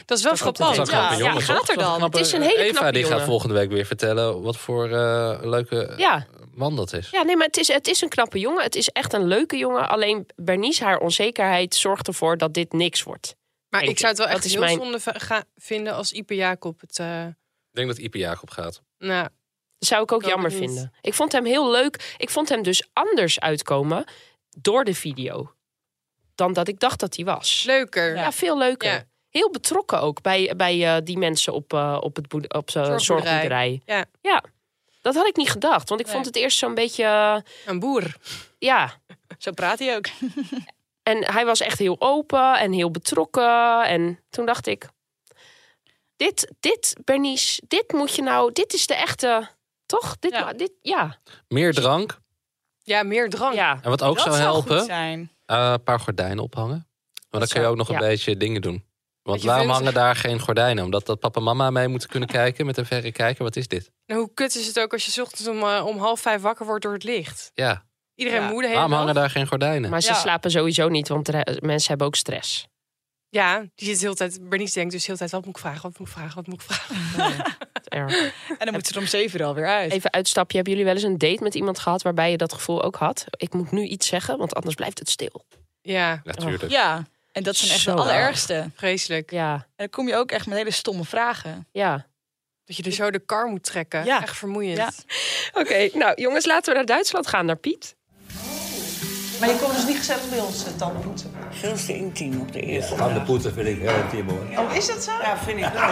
Dat is wel
Dat
frappant.
is wel een
Oh, ja.
knappe jongen,
Ja, gaat
toch?
er dan?
Knappe-
Het is een hele
Eva
knappe
die gaat
jongen.
volgende week weer vertellen wat voor eh, leuke
Ja.
man dat is.
Ja, nee, maar het is, het is een knappe jongen. Het is echt een leuke jongen. Alleen Bernice, haar onzekerheid, zorgt ervoor dat dit niks wordt.
Maar
Denk
ik zou het wel
ik.
echt
Dat is
heel
mijn-
zonde va- ga- vinden als Ipe Jacob het... eh,
Ik denk dat Ipe Jacob gaat.
nou,
Dat zou ik ook
Ik hoop
jammer
het niet.
vinden. Ik vond hem heel leuk. Ik vond hem dus anders uitkomen door de video. Dan dat ik dacht dat hij was.
leuker.
Ja, veel leuker.
Ja.
Heel betrokken ook bij, bij eh, die mensen op, eh, op, het boed- op zo'n
Zorgboerderij.
zorgboerderij.
Ja.
ja, dat had ik niet gedacht. Want ik
Nee.
vond het eerst zo'n beetje... eh,
Een boer.
ja,
Zo praat hij ook.
En hij was echt heel open en heel betrokken. En toen dacht ik: Dit, dit, Bernice, dit moet je nou, dit is de echte. Toch? Dit,
Ja.
dit, ja.
Meer drank.
Ja, meer drank.
ja.
En wat ook
dat
zou helpen,
goed zijn.
Eh, een paar gordijnen ophangen. Maar dan kun je ook nog een
ja.
beetje dingen doen. Want
je
waarom
vindt-
hangen daar geen gordijnen? Omdat dat papa en mama mee moeten kunnen kijken met een verrekijker. Wat is dit?
En hoe kut is het ook als je 's ochtends om, eh, om half vijf wakker wordt door het licht.
Ja,
Iedereen
Ja.
moeder
waarom
helemaal.
hangen daar geen gordijnen?
Maar ze
Ja.
slapen sowieso niet, want re- mensen hebben ook stress.
Ja, die zit de hele tijd, Bernice denkt dus de hele tijd, wat moet ik vragen, wat moet ik vragen, wat moet ik vragen.
En
dan moet ze er om zeven uur alweer uit.
Even uitstapje. Hebben jullie wel eens een date met iemand gehad waarbij je dat gevoel ook had? Ik moet nu iets zeggen, want anders blijft het stil.
Ja,
natuurlijk.
Ja, en dat zijn echt
Zo
de allerergste.
Vreselijk.
Ja. En
dan kom je ook echt met hele stomme vragen.
Ja.
Dat je er zo de kar moet trekken.
Ja.
Echt vermoeiend.
Ja.
Oké, nou jongens, laten we naar Duitsland gaan, naar Piet.
Maar je komt dus niet gezellig bij ons eh, tanden poetsen.
Veel te intiem op de eerste
Aan de poetsen vind ik heel intiem hoor.
Oh, is dat zo?
Ja, vind ik wel.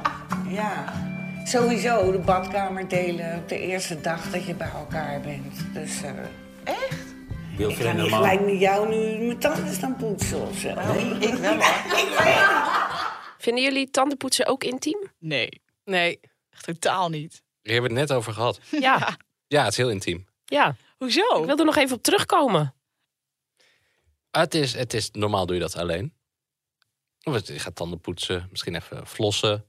ja. Sowieso de badkamer delen op de eerste dag dat je bij elkaar bent. Dus eh
Echt?
Wil
ik ga niet gelijk met jou nu mijn tanden staan poetsen of zo.
ik wel.
Vinden jullie tandenpoetsen ook intiem?
Nee.
Nee.
Echt totaal niet.
Hier hebben we het net over gehad.
Ja.
Ja, het is heel intiem.
Ja.
Hoezo?
Ik wil er nog even op terugkomen.
Het is, het is, normaal doe je dat alleen. Of het- je gaat tanden poetsen, misschien even flossen.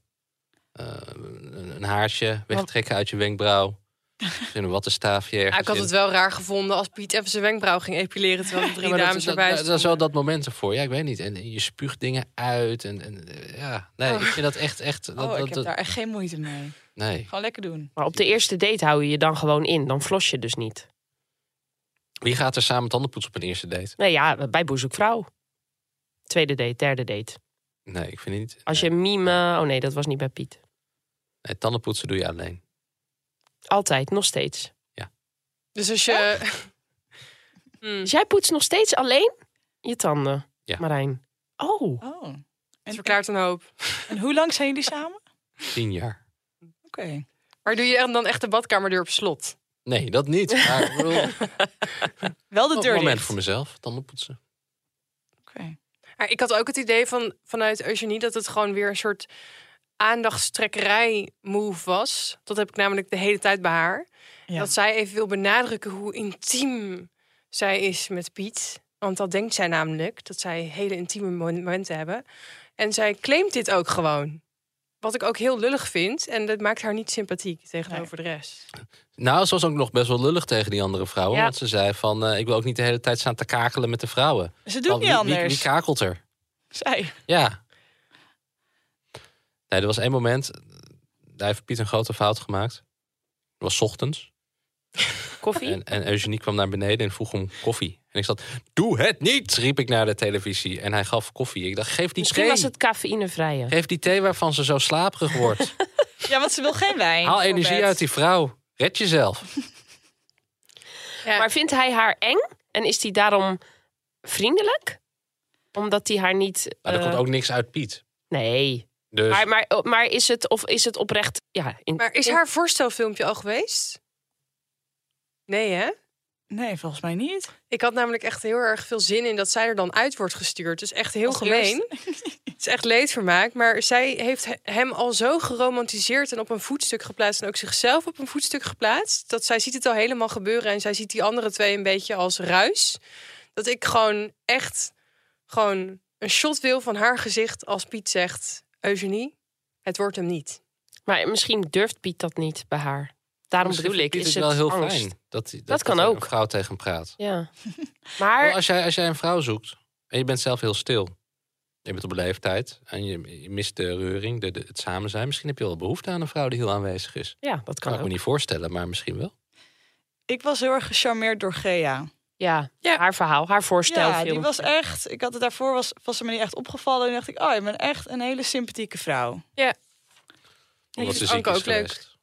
eh, een, een haartje wegtrekken uit je wenkbrauw. Misschien een wattenstaafje
Ja,
ergens
ik had
in.
het wel raar gevonden als Piet even zijn wenkbrauw ging epileren terwijl er drie
Ja, maar
dames
dat,
erbij
dat, dat is wel dat moment ervoor. Ja, ik weet niet. En, en je spuugt dingen uit. En, en eh, ja, nee,
Oh.
ik vind dat echt... echt dat,
oh,
dat-
ik heb
dat-
daar echt geen moeite mee.
Nee.
Gewoon lekker doen.
Maar op de eerste date hou je je dan gewoon in. Dan flos je dus niet.
Wie gaat er samen tanden poetsen op een eerste date?
Nou ja, bij boezekvrouw. Tweede date, derde date.
Nee, ik vind het niet.
Als je mime... Oh nee, dat was niet bij Piet.
Nee, tanden poetsen doe je alleen.
Altijd, nog steeds.
Dus als je...
Dus jij poetst nog steeds alleen je tanden, Marijn? Oh.
Oh.
Het verklaart een hoop.
En hoe lang zijn jullie samen?
Tien jaar.
Oké.
Maar doe je dan echt de badkamerdeur op slot?
Nee, dat niet. Maar ik bedoel,
Wel
de
een
deur
moment
dicht.
voor mezelf. Tanden poetsen.
Maar ik had ook het idee van, vanuit Eugenie dat het gewoon weer een soort aandachtstrekkerij-move was. Dat heb ik namelijk de hele tijd bij haar. Dat zij even wil benadrukken hoe intiem zij is met Piet. Want dat denkt zij namelijk, dat zij hele intieme momenten hebben. En zij claimt dit ook gewoon. Wat ik ook heel lullig vind. En dat maakt haar niet sympathiek tegenover de rest.
Nou, ze was ook nog best wel lullig tegen die andere vrouwen.
Ja.
Want ze zei van, eh, ik wil ook niet de hele tijd staan te kakelen met de vrouwen.
Ze doet
Want
niet
wie- Wie,
anders.
wie kakelt er?
Zij.
Ja. Nee, er was één moment, daar heeft Piet een grote fout gemaakt. Dat was 's ochtends.
Koffie?
En, en Eugenie kwam naar beneden en vroeg om koffie. En ik zat, doe het niet, riep ik naar de televisie. En hij gaf koffie. Ik dacht, geef die
Misschien
thee.
was het cafeïnevrije.
Geef die thee waarvan ze zo slaperig wordt.
Ja, want ze wil geen wijn.
Haal
voor
energie
bed.
uit die vrouw. Red jezelf.
Maar vindt hij haar eng? En is hij daarom vriendelijk? Omdat hij haar niet...
Maar er
eh,
komt ook niks uit Piet.
Nee.
Dus...
Maar, maar, maar is, het, of is het oprecht... Ja, in-
Maar is
in-
haar voorstelfilmpje al geweest? Nee, hè?
Nee, volgens mij niet.
Ik had namelijk echt heel erg veel zin in dat zij er dan uit wordt gestuurd. Dus echt heel
Ongerust.
gemeen. Het is echt leedvermaak. Maar zij heeft he- hem al zo geromantiseerd en op een voetstuk geplaatst. En ook zichzelf op een voetstuk geplaatst. Dat zij ziet het al helemaal gebeuren. En zij ziet die andere twee een beetje als ruis. Dat ik gewoon echt gewoon een shot wil van haar gezicht als Piet zegt... Eugenie, het wordt hem niet.
Maar misschien durft Piet dat niet bij haar. Daarom
Misschien
bedoel ik,
vindt
is
Piet
het
wel heel
angst.
fijn dat, dat,
kan
er
ook.
een vrouw tegen hem praat.
Ja. Maar
Wel, Als, jij, als jij een vrouw zoekt en je bent zelf heel stil. Je bent op een leeftijd en je, je mist de reuring, de, de- het samen zijn. Misschien heb je wel behoefte aan een vrouw die heel aanwezig is.
ja, dat
kan
kan
ik me
ook.
niet voorstellen, maar misschien wel.
Ik was heel erg gecharmeerd door Gea.
Ja, haar verhaal, haar
Ja,
voorstelfilm.
die was echt. Ik had het daarvoor was, was ze me niet echt opgevallen. En dacht ik, oh, je bent echt een hele sympathieke vrouw.
Ja.
Omdat ze
is
ziek
Anke
is
ook leuk.
geweest.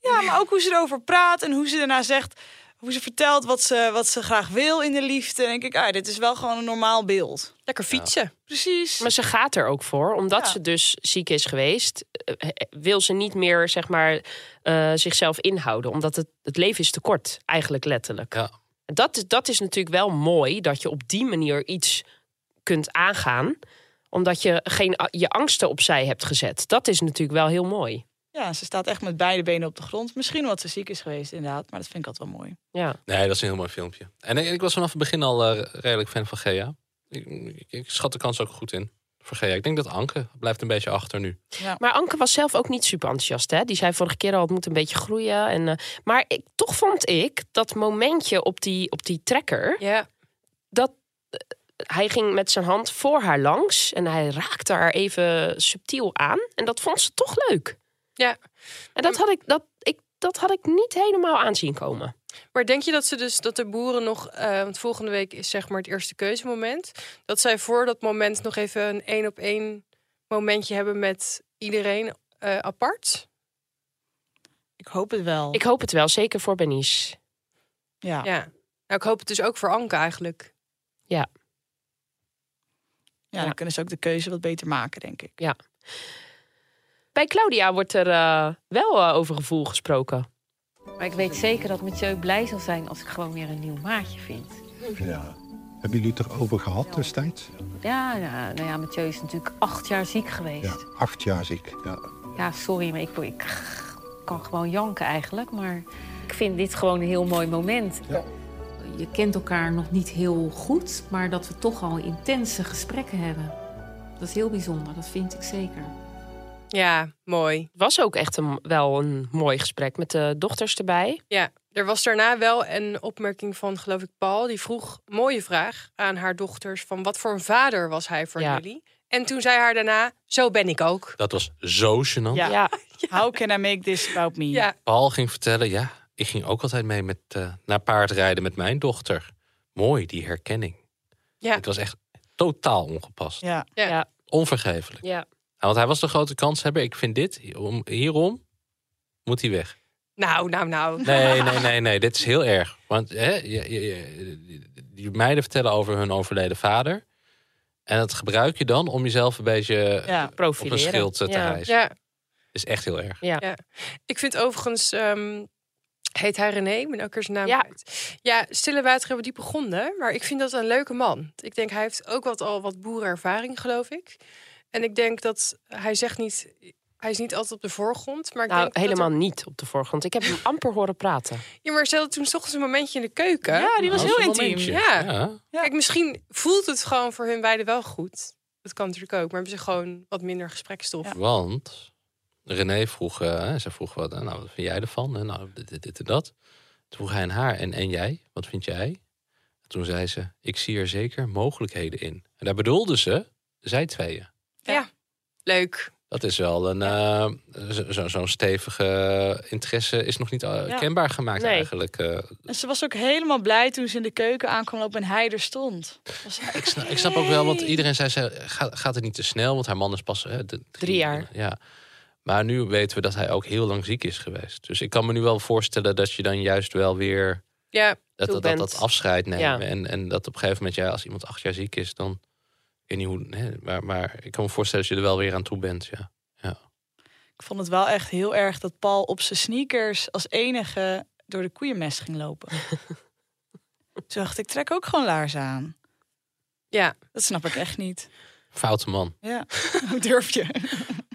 Ja, maar ook hoe ze erover praat en hoe ze daarna zegt, hoe ze vertelt wat ze, wat ze graag wil in de liefde. En dan denk ik, ah, dit is wel gewoon een normaal beeld.
Lekker fietsen.
Precies.
Maar ze gaat er ook voor, omdat
Ja.
ze dus ziek is geweest. eh, eh, Wil ze niet meer, zeg maar, eh, zichzelf inhouden. Omdat het, het leven is te kort, eigenlijk letterlijk.
Ja.
Dat, is- dat is natuurlijk wel mooi, dat je op die manier iets kunt aangaan. Omdat je geen, a- je angsten opzij hebt gezet. Dat is natuurlijk wel heel mooi.
Ja, ze staat echt met beide benen op de grond. Misschien omdat ze ziek is geweest, inderdaad. Maar dat vind ik altijd wel mooi.
Ja.
Nee, dat is een heel mooi filmpje. En eh, ik, ik was vanaf het begin al eh, redelijk fan van Gea. Ik, ik, ik schat de kans ook goed in voor Gea. Ik denk dat Anke blijft een beetje achter nu.
Maar Anke was zelf ook niet super enthousiast. Hè? Die zei vorige keer al, het moet een beetje groeien. En, eh, maar ik, toch vond ik dat momentje op die, op die trekker...
Ja.
dat, eh, hij ging met zijn hand voor haar langs en hij raakte haar even subtiel aan. En dat vond ze toch leuk.
Ja.
En dat had ik, dat, ik, dat had ik niet helemaal aanzien komen.
Maar denk je dat ze dus dat de boeren nog, eh, want volgende week is zeg maar het eerste keuzemoment, dat zij voor dat moment nog even een één op één momentje hebben met iedereen eh, apart?
Ik hoop het wel.
Ik hoop het wel, zeker voor Bernice.
Ja.
ja. Nou, ik hoop het dus ook voor Anke eigenlijk.
Ja.
Ja, dan kunnen ze ook de keuze wat beter maken, denk ik.
Ja. Bij Claudia wordt er eh, wel eh, over gevoel gesproken.
Maar ik weet zeker dat Mathieu blij zal zijn als ik gewoon weer een nieuw maatje vind.
Ja. Hebben jullie het erover gehad destijds?
Ja, ja, nou ja, Mathieu is natuurlijk acht jaar ziek geweest.
Ja,
Ja,
acht jaar ziek. Ja.
sorry, maar ik, ik kan gewoon janken eigenlijk. Maar ik vind dit gewoon een heel mooi moment. Je kent elkaar nog niet heel goed, maar dat we toch al intense gesprekken hebben. Dat is heel bijzonder, dat vind ik zeker.
Ja, mooi. Het
was ook echt een, wel een mooi gesprek met de dochters erbij.
Ja, er was daarna wel een opmerking van, geloof ik, Paul. Die vroeg, mooie vraag, aan haar dochters... van wat voor een vader was hij voor
Ja.
jullie? En toen zei haar daarna, zo ben ik ook.
Dat was zo gênant.
Ja. How can I make this about me?
Ja.
Paul ging vertellen, ja, ik ging ook altijd mee met, eh, naar paardrijden met mijn dochter. Mooi, die herkenning.
Ja.
Het was echt totaal ongepast.
Ja.
Ja.
ja.
Onvergeeflijk. Nou, want hij was de grote kanshebber. Ik vind dit, om, hierom moet hij weg.
Nou, nou, nou.
Nee, nee, nee, nee. Dit is heel erg. Want hè, je, je- je- die meiden vertellen over hun overleden vader. En dat gebruik je dan om jezelf een beetje eh,
Ja,
op een
profileren.
schild eh, te
Ja.
hijsen.
Ja.
Is echt heel erg.
Ja.
Ik vind overigens, ehm, heet hij René? Ik ben elke keer zijn naam ja. kwijt. Ja, Stille Water hebben diepe gronden. Maar ik vind dat een leuke man. Ik denk, hij heeft ook wat, al wat boerenervaring, geloof ik. En ik denk dat hij zegt niet... Hij is niet altijd op de voorgrond. Maar ik
Nou,
denk dat er-
helemaal niet op de voorgrond. Ik heb hem amper horen praten.
Ja, maar ze hadden toen 's ochtends een momentje in de keuken.
Ja, die was Nou, heel zo'n intiem. momentje.
Ja.
Ja.
Kijk, misschien voelt het gewoon voor hun beiden wel goed. Dat kan natuurlijk ook. Maar hebben ze gewoon wat minder gesprekstof.
Want René vroeg, eh, ze vroeg wat, eh, nou, wat vind jij ervan? Eh, Nou, dit, dit, dit en dat. Toen vroeg hij aan haar, en, en jij, wat vind jij? En toen zei ze, ik zie er zeker mogelijkheden in. En daar bedoelde ze, zij tweeën.
Ja. Leuk.
Dat is wel een, eh, zo- zo- zo'n stevige interesse is nog niet eh,
Ja.
kenbaar gemaakt
Nee.
eigenlijk. eh.
En ze was ook helemaal blij toen ze in de keuken aankwam lopen en hij er stond. Was...
ik, snap, Nou, ik snap ook wel, want iedereen zei, ze, ga, gaat het niet te snel? Want haar man is pas eh, de-
Drie jaar.
Ja. Maar nu weten we dat hij ook heel lang ziek is geweest. Dus ik kan me nu wel voorstellen dat je dan juist wel weer
Ja,
dat,
toe
dat, dat,
bent.
dat afscheid nemen.
Ja.
En, en dat op een gegeven moment, ja, als iemand acht jaar ziek is, dan ik weet niet hoe. hè, maar, maar ik kan me voorstellen dat je er wel weer aan toe bent. Ja.
Ik vond het wel echt heel erg dat Paul op zijn sneakers als enige door de koeienmest ging lopen. Toen dacht ik, trek ook gewoon laarzen aan.
Ja.
Dat snap ik echt niet.
Foute man.
Ja, hoe durf je?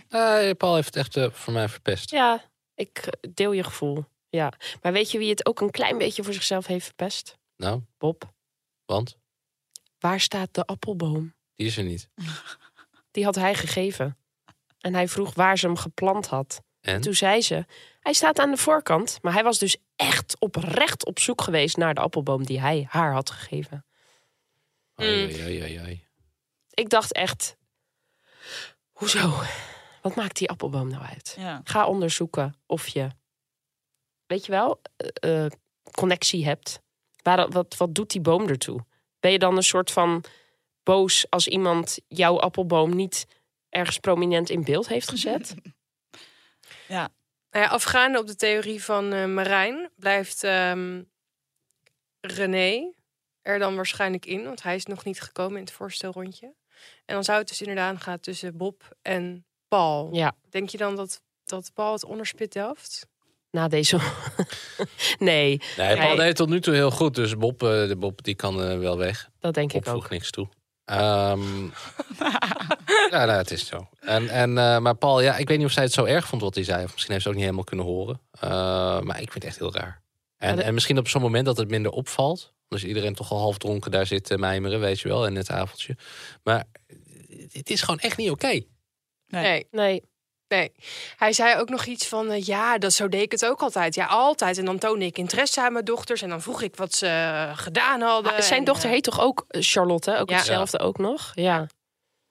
Eh, Paul heeft het echt eh, voor mij verpest.
Ja, ik eh, deel je gevoel. Ja. Maar weet je wie het ook een klein beetje voor zichzelf heeft verpest?
Nou,
Bob.
Want
Waar staat de appelboom?
die is er niet.
Die had hij gegeven. En hij vroeg waar ze hem geplant had.
En?
Toen zei ze, hij staat aan de voorkant. Maar hij was dus echt oprecht op zoek geweest naar de appelboom die hij haar had gegeven.
Ai, ai, ai, ai.
Ik dacht echt, hoezo? Wat maakt die appelboom nou uit? Ga onderzoeken of je, weet je wel, eh, eh, connectie hebt. Waar, wat, wat doet die boom ertoe? Ben je dan een soort van boos als iemand jouw appelboom niet ergens prominent in beeld heeft gezet?
Ja.
Nou ja, afgaande op de theorie van eh, Marijn blijft ehm, René er dan waarschijnlijk in, want hij is nog niet gekomen in het voorstelrondje. En dan zou het dus inderdaad gaan tussen Bob en Paul.
Ja.
Denk je dan dat, dat Paul het onderspit delft?
Na deze. nee.
Nee, Paul deed het tot nu toe heel goed. Dus Bob, eh, de Bob die kan eh, wel weg.
Dat denk
ik ook. voegt niks toe. Ehm, ja, nou, het is zo. En, en, eh, maar Paul, ja, ik weet niet of zij het zo erg vond wat hij zei. Of misschien heeft ze het ook niet helemaal kunnen horen. Eh, maar ik vind het echt heel raar. En, en misschien op zo'n moment dat het minder opvalt. Dus iedereen toch al half dronken daar zit te mijmeren, weet je wel, eh, in het avondje. Maar het is gewoon echt niet oké.
Nee.
Nee.
Nee. Hij zei ook nog iets van, eh, ja, dat zo deed ik het ook altijd. Ja, altijd. En dan toonde ik interesse aan mijn dochters. En dan vroeg ik wat ze eh, gedaan hadden.
Ah, zijn
En,
dochter
eh,
heet toch ook eh, Charlotte? Ook
Ja.
hetzelfde ook nog? Ja.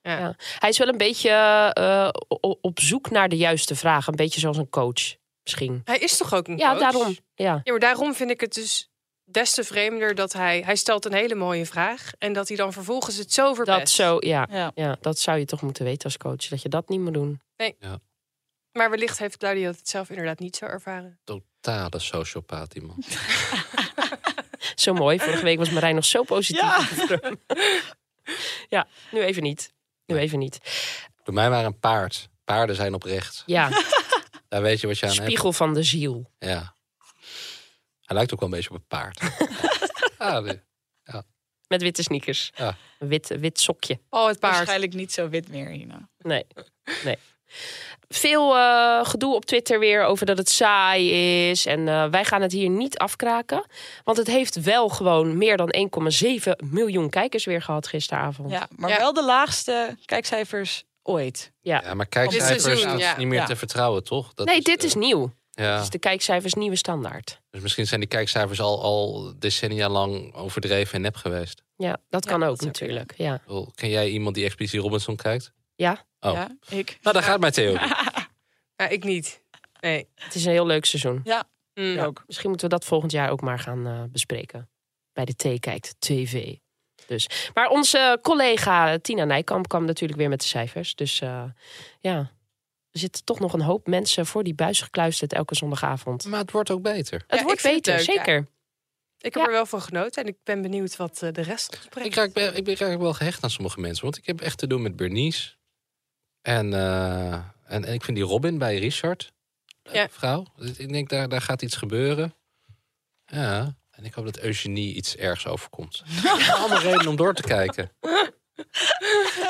Ja. Hij is wel een beetje eh, o- op zoek naar de juiste vragen. Een beetje zoals een coach, misschien.
Hij is toch ook een
Ja,
coach?
daarom. Ja.
Ja, maar daarom vind ik het dus des te vreemder dat hij... Hij stelt een hele mooie vraag. En dat hij dan vervolgens het zo verpest.
Dat zo, ja.
Ja.
Ja. Dat zou je toch moeten weten als coach. Dat je dat niet moet doen.
Nee.
Ja.
Maar wellicht heeft Claudio het zelf inderdaad niet zo ervaren.
Totale sociopaat, die man.
Zo mooi. Vorige week was Marijn nog zo positief. Ja, ja nu even niet. Nu even niet.
Door mij maar een paard. Paarden zijn oprecht.
Ja,
Daar weet je wat je aan hebt.
spiegel van de ziel.
Ja. Hij lijkt ook wel een beetje op een paard. ah, nee.
Met witte sneakers.
Ja.
Een Wit, wit sokje.
Oh, het paard.
Waarschijnlijk niet zo wit meer, nou. Hina.
Nee. nee. Veel eh, gedoe op Twitter weer over dat het saai is. En eh, wij gaan het hier niet afkraken. Want het heeft wel gewoon meer dan 1,7 miljoen kijkers weer gehad gisteravond.
Ja, maar wel de laagste kijkcijfers ooit.
Ja.
Ja, maar kijkcijfers,
Dit seizoen,
dat
ja.
is niet meer
Ja.
te vertrouwen, toch? Dat
nee,
is,
dit
eh,
is nieuw.
Ja.
Dit is Dus de kijkcijfers nieuwe standaard.
Dus misschien zijn die kijkcijfers al, al decennia lang overdreven en nep geweest.
Ja, dat kan ook natuurlijk. Ja.
Ik bedoel, Ken jij iemand die XPC Robinson kijkt?
Ja.
Oh.
Ja, ik.
Nou, daar gaat mijn theorie.
Ja, ik niet. Nee.
Het is een heel leuk seizoen.
Ja,
Mm.
Ja, Misschien moeten we dat volgend jaar ook maar gaan eh, bespreken. Bij de T kijkt TV. Dus. Maar onze collega Tina Nijkamp kwam natuurlijk weer met de cijfers. Dus eh, ja, er zitten toch nog een hoop mensen voor die buis gekluisterd elke zondagavond.
Maar het wordt ook beter.
Het
Ja,
wordt
ik vind
beter,
het leuk, ja.
zeker.
Ik heb er wel van genoten. En ik ben benieuwd wat eh, de rest ons brengt.
Ik raak, be- ik ben- ik raak wel gehecht aan sommige mensen. Want ik heb echt te doen met Bernice. En, eh, en, en ik vind die Robin bij Richard. Leuke
Ja.
vrouw. Dus Ik denk, daar, daar gaat iets gebeuren. Ja. En ik hoop dat Eugenie iets ergs overkomt. Allemaal reden om door te kijken.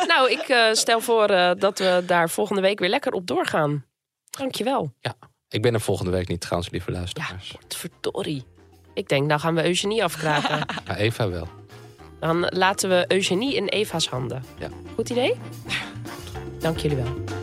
Nou, ik eh, stel voor eh, dat we daar volgende week weer lekker op doorgaan. Dankjewel.
Ik ben er volgende week niet trouwens, lieve luisteraars.
Verdorie. Ik denk, nou gaan we Eugenie afkraken.
Maar Eva wel.
Dan laten we Eugenie in Eva's handen.
Ja.
Goed idee? Dank jullie wel.